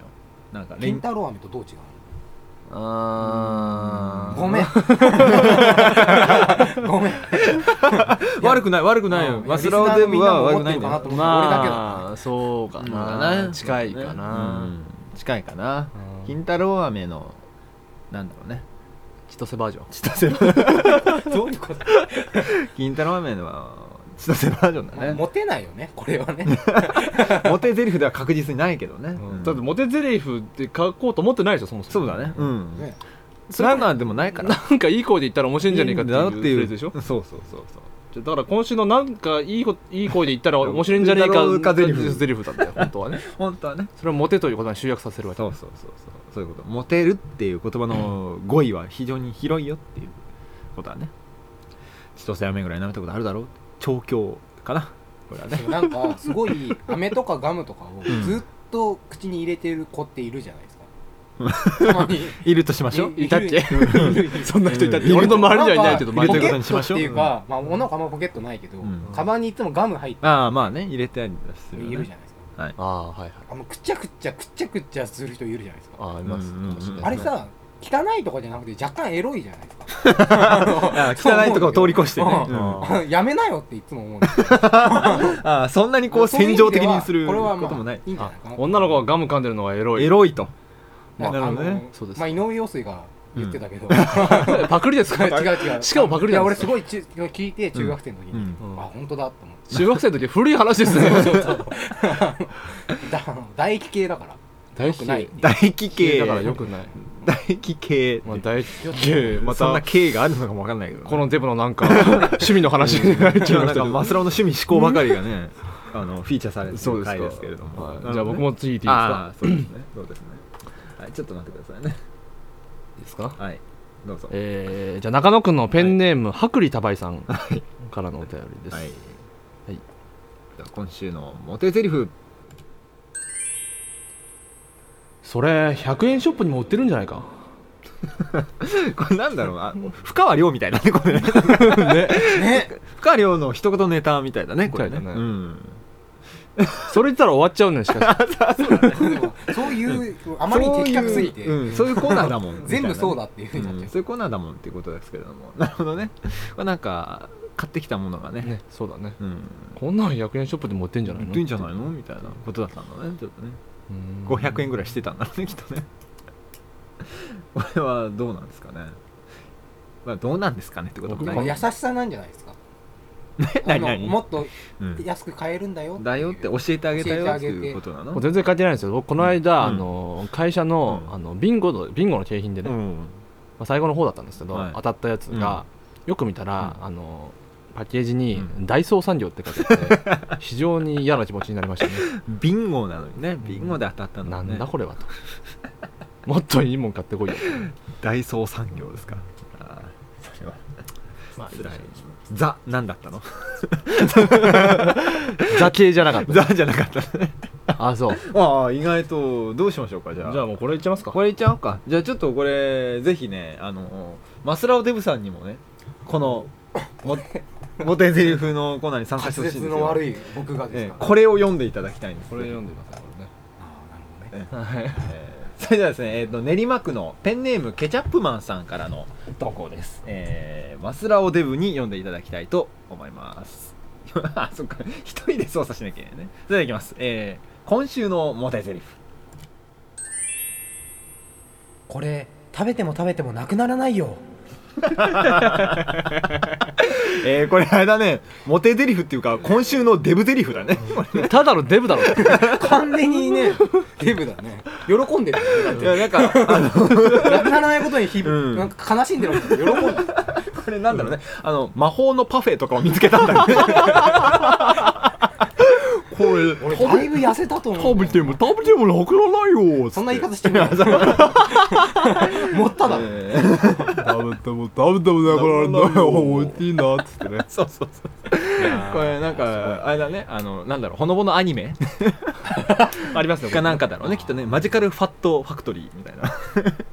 Speaker 2: なんかレ
Speaker 3: 金
Speaker 2: ン
Speaker 3: 太郎飴とどう違う
Speaker 1: あ
Speaker 3: の
Speaker 1: ー
Speaker 3: ごめん ごめん
Speaker 2: 悪くない悪くないよ
Speaker 3: うん
Speaker 2: バスラオデブは悪くないんだ
Speaker 3: リスナーのみんなも思ってるかなと
Speaker 2: よ
Speaker 3: 思う
Speaker 1: まあ
Speaker 3: 俺だけだ
Speaker 1: そうかな、近いかな、
Speaker 2: うん近いかな
Speaker 1: うん
Speaker 2: 金太郎飴のなんだろうね
Speaker 1: 千歳バージョン
Speaker 2: 千歳バージョン
Speaker 3: どういうこと
Speaker 2: 金太郎飴の千歳バージョン
Speaker 3: まあ
Speaker 2: だね
Speaker 3: モテないよねこ れはね
Speaker 2: モテゼリフでは確実にないけどねうん
Speaker 1: だってモテゼリフって書こうと思ってないでしょそもそ
Speaker 2: そう
Speaker 1: も
Speaker 2: だねうん
Speaker 3: ね
Speaker 2: それなんでもないから
Speaker 1: なんかいい声で言ったら面白いんじゃねえかっていうフレーズでしょ
Speaker 2: そうそうそうそう
Speaker 1: じゃあだから今週のなんかいいこいい声で言ったら面白いんじゃねえか
Speaker 2: うんゼリフ
Speaker 1: ゼリフだったよ本当はね
Speaker 2: 本当はね
Speaker 1: それをモテということに集約させるわけ
Speaker 2: そうそうそうそうそういうことモテるっていう言葉の語彙は非常に広いよっていうことだね千歳飴ぐらい舐めたことあるだろう調教かなこれはね
Speaker 3: なんかすごい飴とかガムとかをずっと口に入れてる子っているじゃないです かたまに
Speaker 2: いるとしましょう
Speaker 3: い
Speaker 1: いたっけ
Speaker 3: いるいる
Speaker 1: そんな人いたっ
Speaker 2: う
Speaker 1: て
Speaker 2: ん
Speaker 1: 俺の周りにはいないけど
Speaker 2: なんか
Speaker 1: 周
Speaker 2: 入れ
Speaker 1: りには
Speaker 2: てることにしましょう
Speaker 3: ポケットっていうか、まあ、女の子あんまポケットないけど、
Speaker 2: うん
Speaker 3: カバンにいつもガム入って
Speaker 2: ああまあね入れてあります
Speaker 3: る
Speaker 2: よ
Speaker 3: 人
Speaker 2: ね
Speaker 3: いるじゃないですか
Speaker 1: ああはいはい
Speaker 3: あのくちゃくちゃくちゃくちゃする人いるじゃないですか
Speaker 1: ああいます
Speaker 2: うんうんうん
Speaker 1: かもしれない
Speaker 3: あれさ汚いとかじゃなくて若干エロいじゃないですか
Speaker 2: あー汚いとこを通り越してね、
Speaker 3: う
Speaker 2: うんんあ
Speaker 1: あ
Speaker 3: やめなよっていつも思うんですよ
Speaker 2: ーそんなにこう
Speaker 3: そういう意
Speaker 2: 戦
Speaker 3: 味で
Speaker 2: 場
Speaker 3: は
Speaker 2: 的にするこ
Speaker 3: これはまあ
Speaker 2: ともない
Speaker 3: いいんじゃ
Speaker 1: あ
Speaker 3: ないかな
Speaker 1: 女の子がガム噛んでるのはエロい
Speaker 2: エロいと
Speaker 3: まあ
Speaker 2: なるほどね
Speaker 3: あの
Speaker 1: そうです
Speaker 3: まあ井上陽水が言ってたけど、
Speaker 1: パクリですか
Speaker 3: 違う 違う
Speaker 1: しかもパクリ
Speaker 3: い
Speaker 1: な
Speaker 3: や
Speaker 1: んで
Speaker 3: 俺
Speaker 1: す
Speaker 3: す
Speaker 1: よ
Speaker 3: ごいち聞いて中学生の時に、
Speaker 2: うん
Speaker 1: うん
Speaker 3: あ本当だと思って
Speaker 1: 中学生の時古い話ですね
Speaker 3: だあの唾液系だ から
Speaker 1: 大
Speaker 3: 良くない
Speaker 2: 唾液系
Speaker 1: だからよくない
Speaker 2: 唾液系、
Speaker 1: まあ大嫌いま
Speaker 2: そんな
Speaker 1: た
Speaker 2: 系があるのかもわかんないけどね、
Speaker 1: このデブのなん か趣味の話になっちゃいまし
Speaker 2: なんか
Speaker 1: た
Speaker 2: マスラオの趣味嗜好ばかりがねあのフィーチャーされて
Speaker 1: そう
Speaker 2: る
Speaker 1: ですか
Speaker 2: 回ですけれども、
Speaker 1: はい
Speaker 2: なるほどね
Speaker 1: じゃあ僕も次行っていいですか
Speaker 2: ああそうですねそうですねはいちょっと待ってくださいね
Speaker 1: ですか
Speaker 2: はいどうぞ
Speaker 1: えーじゃあ中野くんのペンネーム、薄利多売さんからのお便りです、
Speaker 2: はい、はい
Speaker 1: はい、
Speaker 2: 今週のモテゼリフ
Speaker 1: それ100円ショップにも売ってるんじゃないか
Speaker 2: これなんだろうあ深川亮みたいだねこれね 深川亮の一言ネタみたいだねこれね
Speaker 1: みたいだね
Speaker 2: うん
Speaker 1: それ言ったら終わっちゃうねしかし
Speaker 3: でもそういうあまりに的確すぎて
Speaker 2: そういう,、うん、そういうコーナーだもん
Speaker 3: 全部そう
Speaker 2: だ
Speaker 3: だっていうふうになっちゃう、
Speaker 2: そういうコーナーだもんっていうことですけれどもなるほどねこれなんか買ってきたものが ね
Speaker 1: ねそうだね
Speaker 2: うん
Speaker 1: こんなん100円ショップでも売ってんじゃない
Speaker 2: 売っ
Speaker 1: の
Speaker 2: てんじゃないのみたいなことだったんだねちょっとね
Speaker 1: うん
Speaker 2: 500円ぐらいしてたんだろうねきっとねこれはどうなんですかねまあどうなんですかねってことも
Speaker 1: 僕
Speaker 2: な
Speaker 1: ら
Speaker 2: い
Speaker 3: まあ優しさなんじゃないですかあ
Speaker 2: 何
Speaker 3: の
Speaker 2: 何
Speaker 3: もっと
Speaker 2: うん
Speaker 3: 安く買えるんだよっていう
Speaker 2: だよって教えてあげた
Speaker 3: 教えて
Speaker 2: よっ
Speaker 3: あ
Speaker 2: て
Speaker 3: げて
Speaker 2: いうことな
Speaker 1: もう
Speaker 2: の
Speaker 1: 全然書いてないんですけど僕この間、
Speaker 2: うん
Speaker 1: あの会社の,、
Speaker 2: うん
Speaker 1: あのビンゴのビンゴの景品でね、
Speaker 2: う
Speaker 1: ま
Speaker 2: ん
Speaker 1: あ、最後の方だったんですけど、
Speaker 2: はい
Speaker 1: 当たったやつが、よく見たら、あのパッケージに
Speaker 2: う
Speaker 1: 「ダイソー産業」って書いてあ って、非常に嫌な気持ちになりましたね
Speaker 2: ビンゴなのにねビンゴで当たったんだ
Speaker 1: な
Speaker 2: もね
Speaker 1: んだこれはともっといいもん買ってこいよ、
Speaker 2: ダイソー産業ですかあーそれは
Speaker 1: まあ、
Speaker 2: 辛いザ何だったの
Speaker 1: 座系じゃなか っ
Speaker 2: ザじゃなかった
Speaker 1: たあそう
Speaker 2: ああ意外とどうしましょうかじ
Speaker 1: じ
Speaker 2: ゃあ
Speaker 1: ゃあもうこれいっちゃいますか
Speaker 2: これいっちゃおうかじゃあちょっとこれぜひねあのマスラオデブさんにもねこのモモテゼリフのコーナーに参加
Speaker 3: 滑
Speaker 2: してほしいん
Speaker 3: 舌
Speaker 2: です
Speaker 3: の
Speaker 2: よ
Speaker 3: 悪い僕がです
Speaker 2: ええ
Speaker 3: か、ら
Speaker 2: これを読んでいただきたいんです
Speaker 1: これ読んでくださいこれね
Speaker 3: ああなるほどね
Speaker 1: はい
Speaker 2: えーそれではですね、えー、と練馬区のペンネームケチャップマンさんからの投稿です、えー、マスラオデブに読んでいただきたいと思います あそっか一人で操作しなきゃいけないねそれではいきます、えー、今週のモテゼリフ
Speaker 3: これ食べても食べてもなくならないよ
Speaker 2: えー、これあれだねモテゼリフっていうか今週のデブゼリフだね
Speaker 1: ただのデブだろ
Speaker 3: 完全 にねデブだね喜んでるよねだっ
Speaker 2: い
Speaker 3: て
Speaker 2: やなんかあの
Speaker 3: なくならないことに日々、
Speaker 2: うん
Speaker 3: なんか悲しんでるもん喜んでる
Speaker 2: これなんだろうね、あの魔法のパフェとかを見つけたんだけどこれ
Speaker 3: 俺だいぶ痩せたと思う
Speaker 2: 食べても食べてもなくならないよ
Speaker 3: そんな言い方してみよう持っただ、
Speaker 2: えー
Speaker 1: 食べても食べてもな
Speaker 2: くならんな
Speaker 1: おいしいなっつってね
Speaker 2: そうそうそうこれなんかあれだねあのなんだろうほのぼのアニメ
Speaker 1: ありますね
Speaker 2: かなんかだろうねきっとねマジカルファットファクトリーみたいな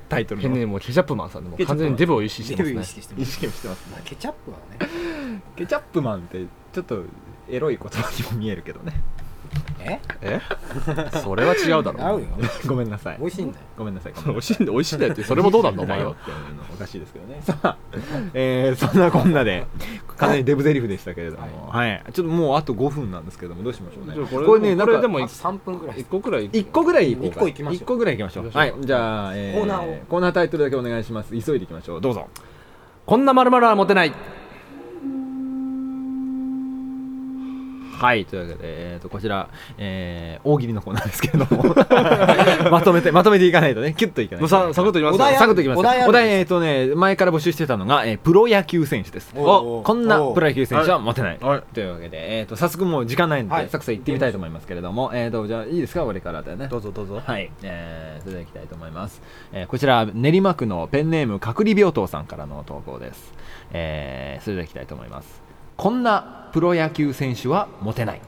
Speaker 2: タイトル
Speaker 1: ペン
Speaker 2: の
Speaker 1: ネームもケチャップマンさんでもう完全にデブを意識して
Speaker 3: デ
Speaker 1: ま
Speaker 3: ブ
Speaker 1: す
Speaker 3: 意
Speaker 1: ね
Speaker 3: 識して
Speaker 2: 意
Speaker 3: る
Speaker 2: 識もしてますね
Speaker 3: まあケチャップはね
Speaker 2: ケチャップマンってちょっとエロい言葉にも見えるけどね
Speaker 3: え
Speaker 1: えそれは違うだ
Speaker 3: 合
Speaker 1: ろ
Speaker 3: うよ
Speaker 2: ごめんなさい
Speaker 3: 美味しいんだよ
Speaker 2: ごめんなさいごめんなさい
Speaker 1: 美味しいんだ美味しいんだよってそれもどうなんだお前は
Speaker 2: っていうのおかしいですけどねさ あ、えーそんなこんなでかなりデブゼリフでしたけれども、はいちょっともうあと5分なんですけどもどうしましょうね
Speaker 1: じゃあこれ
Speaker 2: なん
Speaker 1: こ
Speaker 2: か
Speaker 1: れでも
Speaker 3: あと3分ぐらい
Speaker 1: 一個くらい
Speaker 2: 一個ぐらい行こうか
Speaker 3: 一個行きましょう
Speaker 2: 一個ぐらい行きましょう
Speaker 1: 行きま
Speaker 2: は
Speaker 1: し
Speaker 2: い
Speaker 1: ょう
Speaker 2: じゃあ、え
Speaker 3: コーナーを
Speaker 2: コーナータイトルだけお願いします急いでいきましょうどうぞ
Speaker 1: こんなまるまるは持てない
Speaker 2: はいというわけで、えー、とこちら、えー大喜利のコーナーですけれども まとめてまとめていかないとねキュッといかないと
Speaker 1: さサクッと言います
Speaker 3: お題あ
Speaker 2: サクッといきます
Speaker 3: お題ある
Speaker 2: お題えっ、とね前から募集してたのが、えープロ野球選手です
Speaker 3: おー
Speaker 2: おこんな
Speaker 3: おー
Speaker 2: プロ野球選手は持てない、
Speaker 1: はい
Speaker 2: というわけで、えー、と早速もう時間ないので、
Speaker 3: はい
Speaker 2: サクサク行ってみたいと思いますけれども、えー、とじゃあいいですか俺からだよね
Speaker 1: どうぞどうぞ
Speaker 2: はい、えー、それではいきたいと思います、えーこちら練馬区のペンネーム隔離病棟さんからの投稿です、えーそれではいきたいと思いますこんなプロ野球選手はモテない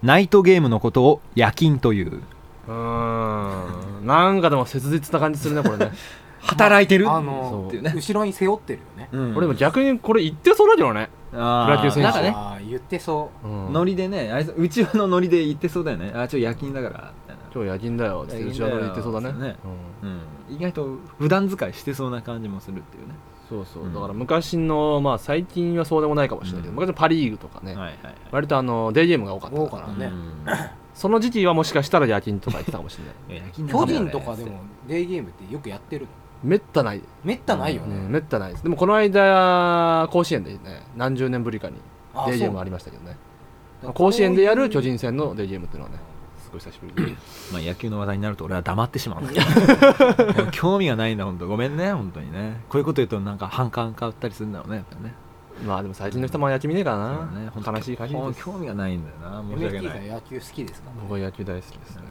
Speaker 2: ナイトゲームのことを夜勤という
Speaker 1: うーんなんかでも切実な感じするねこれね
Speaker 2: 働いてる、
Speaker 3: あの
Speaker 2: っていうね
Speaker 3: 後ろに背負ってるよね
Speaker 2: うん
Speaker 1: 俺でも逆にこれ言ってそうだけどね
Speaker 2: あー
Speaker 1: プロ野球選手
Speaker 2: なんかね
Speaker 3: あー言ってそ
Speaker 1: うん
Speaker 2: ノリでねあれうちわのノリで言ってそうだよねあちょっと夜勤だからみたいな
Speaker 1: 今日夜勤だよっつって
Speaker 2: 夜
Speaker 1: うち
Speaker 2: 勤
Speaker 1: は
Speaker 2: だ
Speaker 1: ノ
Speaker 2: よ
Speaker 1: リ言ってそうだね
Speaker 2: そうね
Speaker 1: うん
Speaker 2: うん、意外と普段使いしてそうな感じもするっていうね
Speaker 1: そうそううんだから昔のまあ最近はそうでもないかもしれないけど
Speaker 2: うん
Speaker 1: 昔のパ・リーグとかね
Speaker 2: はいはい
Speaker 1: 割とあのデーゲームが多かった
Speaker 3: 多
Speaker 1: か
Speaker 3: かっ
Speaker 1: ら
Speaker 3: たね
Speaker 1: その時期はもしかしたら夜勤とか言ってたかもしれない
Speaker 3: う巨人とかでもデイゲームってよくやってるの
Speaker 1: めったない
Speaker 3: めったないよ
Speaker 1: う
Speaker 3: ね、
Speaker 1: んめったないですでもこの間甲子園でね何十年ぶりかに
Speaker 3: あ
Speaker 1: デーゲーム
Speaker 3: そう
Speaker 1: ありましたけどね甲子園でやる巨人戦のデーゲームっていうのはねすごい久しぶりで
Speaker 2: まあ、野球の話題になると俺は黙ってしまうんだ 興味がないんだ本当ごめんね本当にねこういうこと言うとなんか反感買ったりするんだろうねやっぱね
Speaker 1: まあでも最近の人も野球見ねえから
Speaker 2: そうね
Speaker 1: な
Speaker 2: 本当
Speaker 1: 悲しい限り
Speaker 2: も
Speaker 1: で
Speaker 2: う
Speaker 1: す
Speaker 2: 興味がないんだよな申し訳
Speaker 3: MFT
Speaker 2: な
Speaker 3: が
Speaker 2: い、
Speaker 3: 野球好きですか
Speaker 1: 僕は野球大好きですね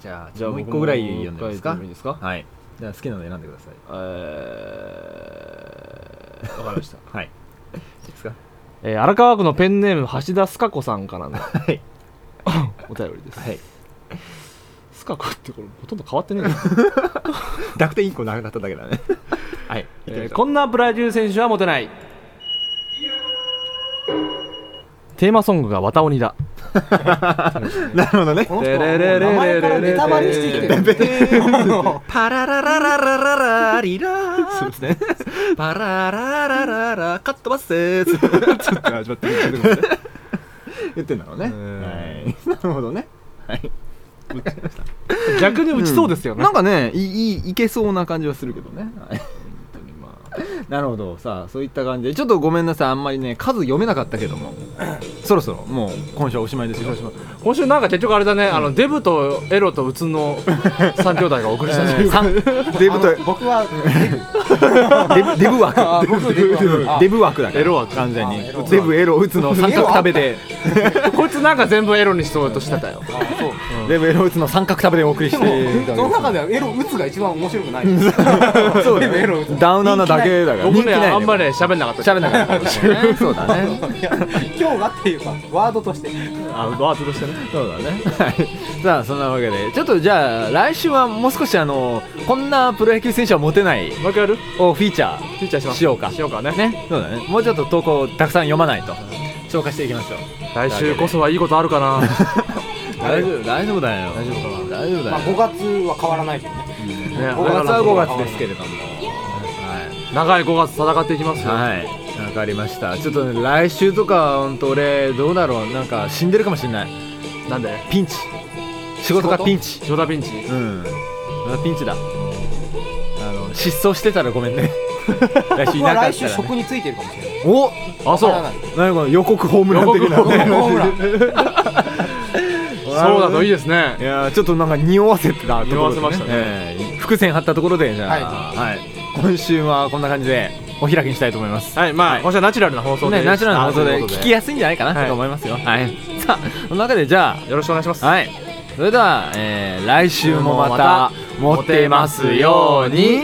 Speaker 2: じゃあじゃあもう一個ぐらい読んでみます
Speaker 1: も
Speaker 2: か
Speaker 1: う一個ぐらい読んでいいですか
Speaker 2: はいじゃあ好きなの選んでください
Speaker 1: えーわかりました
Speaker 2: はいいいですか
Speaker 1: えー荒川区のペンネーム橋田須賀子さんからの
Speaker 2: はい
Speaker 1: お便りです
Speaker 2: はい
Speaker 1: 須賀子ってこれほとんど変わってねえな
Speaker 2: 濁点一個なくなっただけだねはい、
Speaker 1: えー
Speaker 2: こ
Speaker 1: こ
Speaker 2: ん
Speaker 1: んなプロ野球選手はモテないテーマソングが綿鬼だ
Speaker 2: なるほどね
Speaker 3: この人はもう名前からネタバレしてきてる
Speaker 2: パラララララララリラーそうですねパラララララカットバスちょっと始まってる言ってんだろうねはいなるほどね
Speaker 1: 逆に打ちそうですよね、
Speaker 2: なんかねいいいけそうな感じはするけどねはい
Speaker 1: 本当にまあ
Speaker 2: なるほどさあそういった感じでちょっとごめんなさいあんまりね数読めなかったけど もそろそろもう今週はおしまいですよ
Speaker 1: 今週なんか結局あれだね、あのデブとエロと宇都の三兄弟がお送りしたと
Speaker 2: え
Speaker 1: い
Speaker 2: ー
Speaker 1: うか、
Speaker 2: さんデブと
Speaker 3: あの僕 は
Speaker 2: デブデブ枠
Speaker 3: あ僕デブ枠
Speaker 2: デブ枠だから
Speaker 1: エロ枠
Speaker 2: 完全に
Speaker 3: あエロ枠
Speaker 2: デブエロ打つの三角食べで
Speaker 1: こいつなんか全部エロにしようとしてたよ。
Speaker 2: デブエロ打つの三角食べでお送りし
Speaker 3: で
Speaker 2: て
Speaker 3: もその中ではエロ打つが一番面白くないですそうでもエロ打つ
Speaker 2: ダウナーなだけだから
Speaker 1: 僕ね、あんまり
Speaker 2: り
Speaker 1: ね喋んなかったし
Speaker 2: 喋んなかったねそうだね
Speaker 3: いや今日がっていうかワードとして
Speaker 1: あワードとしてね。
Speaker 2: そうだね。はい。さあ、そんなわけで、ちょっとじゃあ、来週はもう少し、あの、こんなプロ野球選手は持てない
Speaker 1: もう一回やる
Speaker 2: をフィーチャー
Speaker 1: フィーチャーします
Speaker 2: しようか
Speaker 1: しようかね
Speaker 2: ね。そうだね。もうちょっと投稿をたくさん読まないと。消化していきましょう。
Speaker 1: 来週こそはいいことあるかな
Speaker 2: 大丈夫、大丈夫だよ。
Speaker 3: 大丈夫かな
Speaker 2: 大丈夫だ
Speaker 3: ま
Speaker 2: よ
Speaker 3: あ。5月は変わらないけどね
Speaker 1: ね
Speaker 2: 5月は
Speaker 3: 五
Speaker 2: 5月ですけれども。は
Speaker 1: 長い5月戦っていきますよ、
Speaker 2: い。はい。わかりました。ちょっとね、来週とか、本当俺、どうだろう。なんか、死んでるかもしれない。
Speaker 1: なんで
Speaker 2: ピンチ。仕事が
Speaker 3: 仕事
Speaker 2: ピンチ。
Speaker 1: ジョダピンチ
Speaker 2: うん、あピンチだあの失踪してたらごめんね 来週いな
Speaker 3: 僕は
Speaker 2: かった
Speaker 3: 来週
Speaker 2: ら、
Speaker 3: 職
Speaker 2: ね、
Speaker 3: についてるかもしれない
Speaker 2: お
Speaker 1: あそう
Speaker 3: わからない
Speaker 2: 何この予告ホームラン的
Speaker 1: 予告
Speaker 2: なね
Speaker 3: ホー ムラン
Speaker 1: そうだといい
Speaker 2: い
Speaker 1: ですね
Speaker 2: やーちょっとなんか匂わせてたところで、ね、
Speaker 1: 匂わせましたね
Speaker 2: えー伏線張ったところでじゃあ、はい今週はこんな感じでお開きにしたいと思います
Speaker 1: はいまあ、今週はナチュラルな放送で、
Speaker 2: ね、ナチュラルな放送で聞き
Speaker 1: や
Speaker 2: やすいんじゃないかな、
Speaker 1: はい
Speaker 2: と思いますよはいさあその中でじゃあ
Speaker 1: よろしくお願いします、
Speaker 2: はい。それでは、えー来週もまたモテますように。
Speaker 4: よ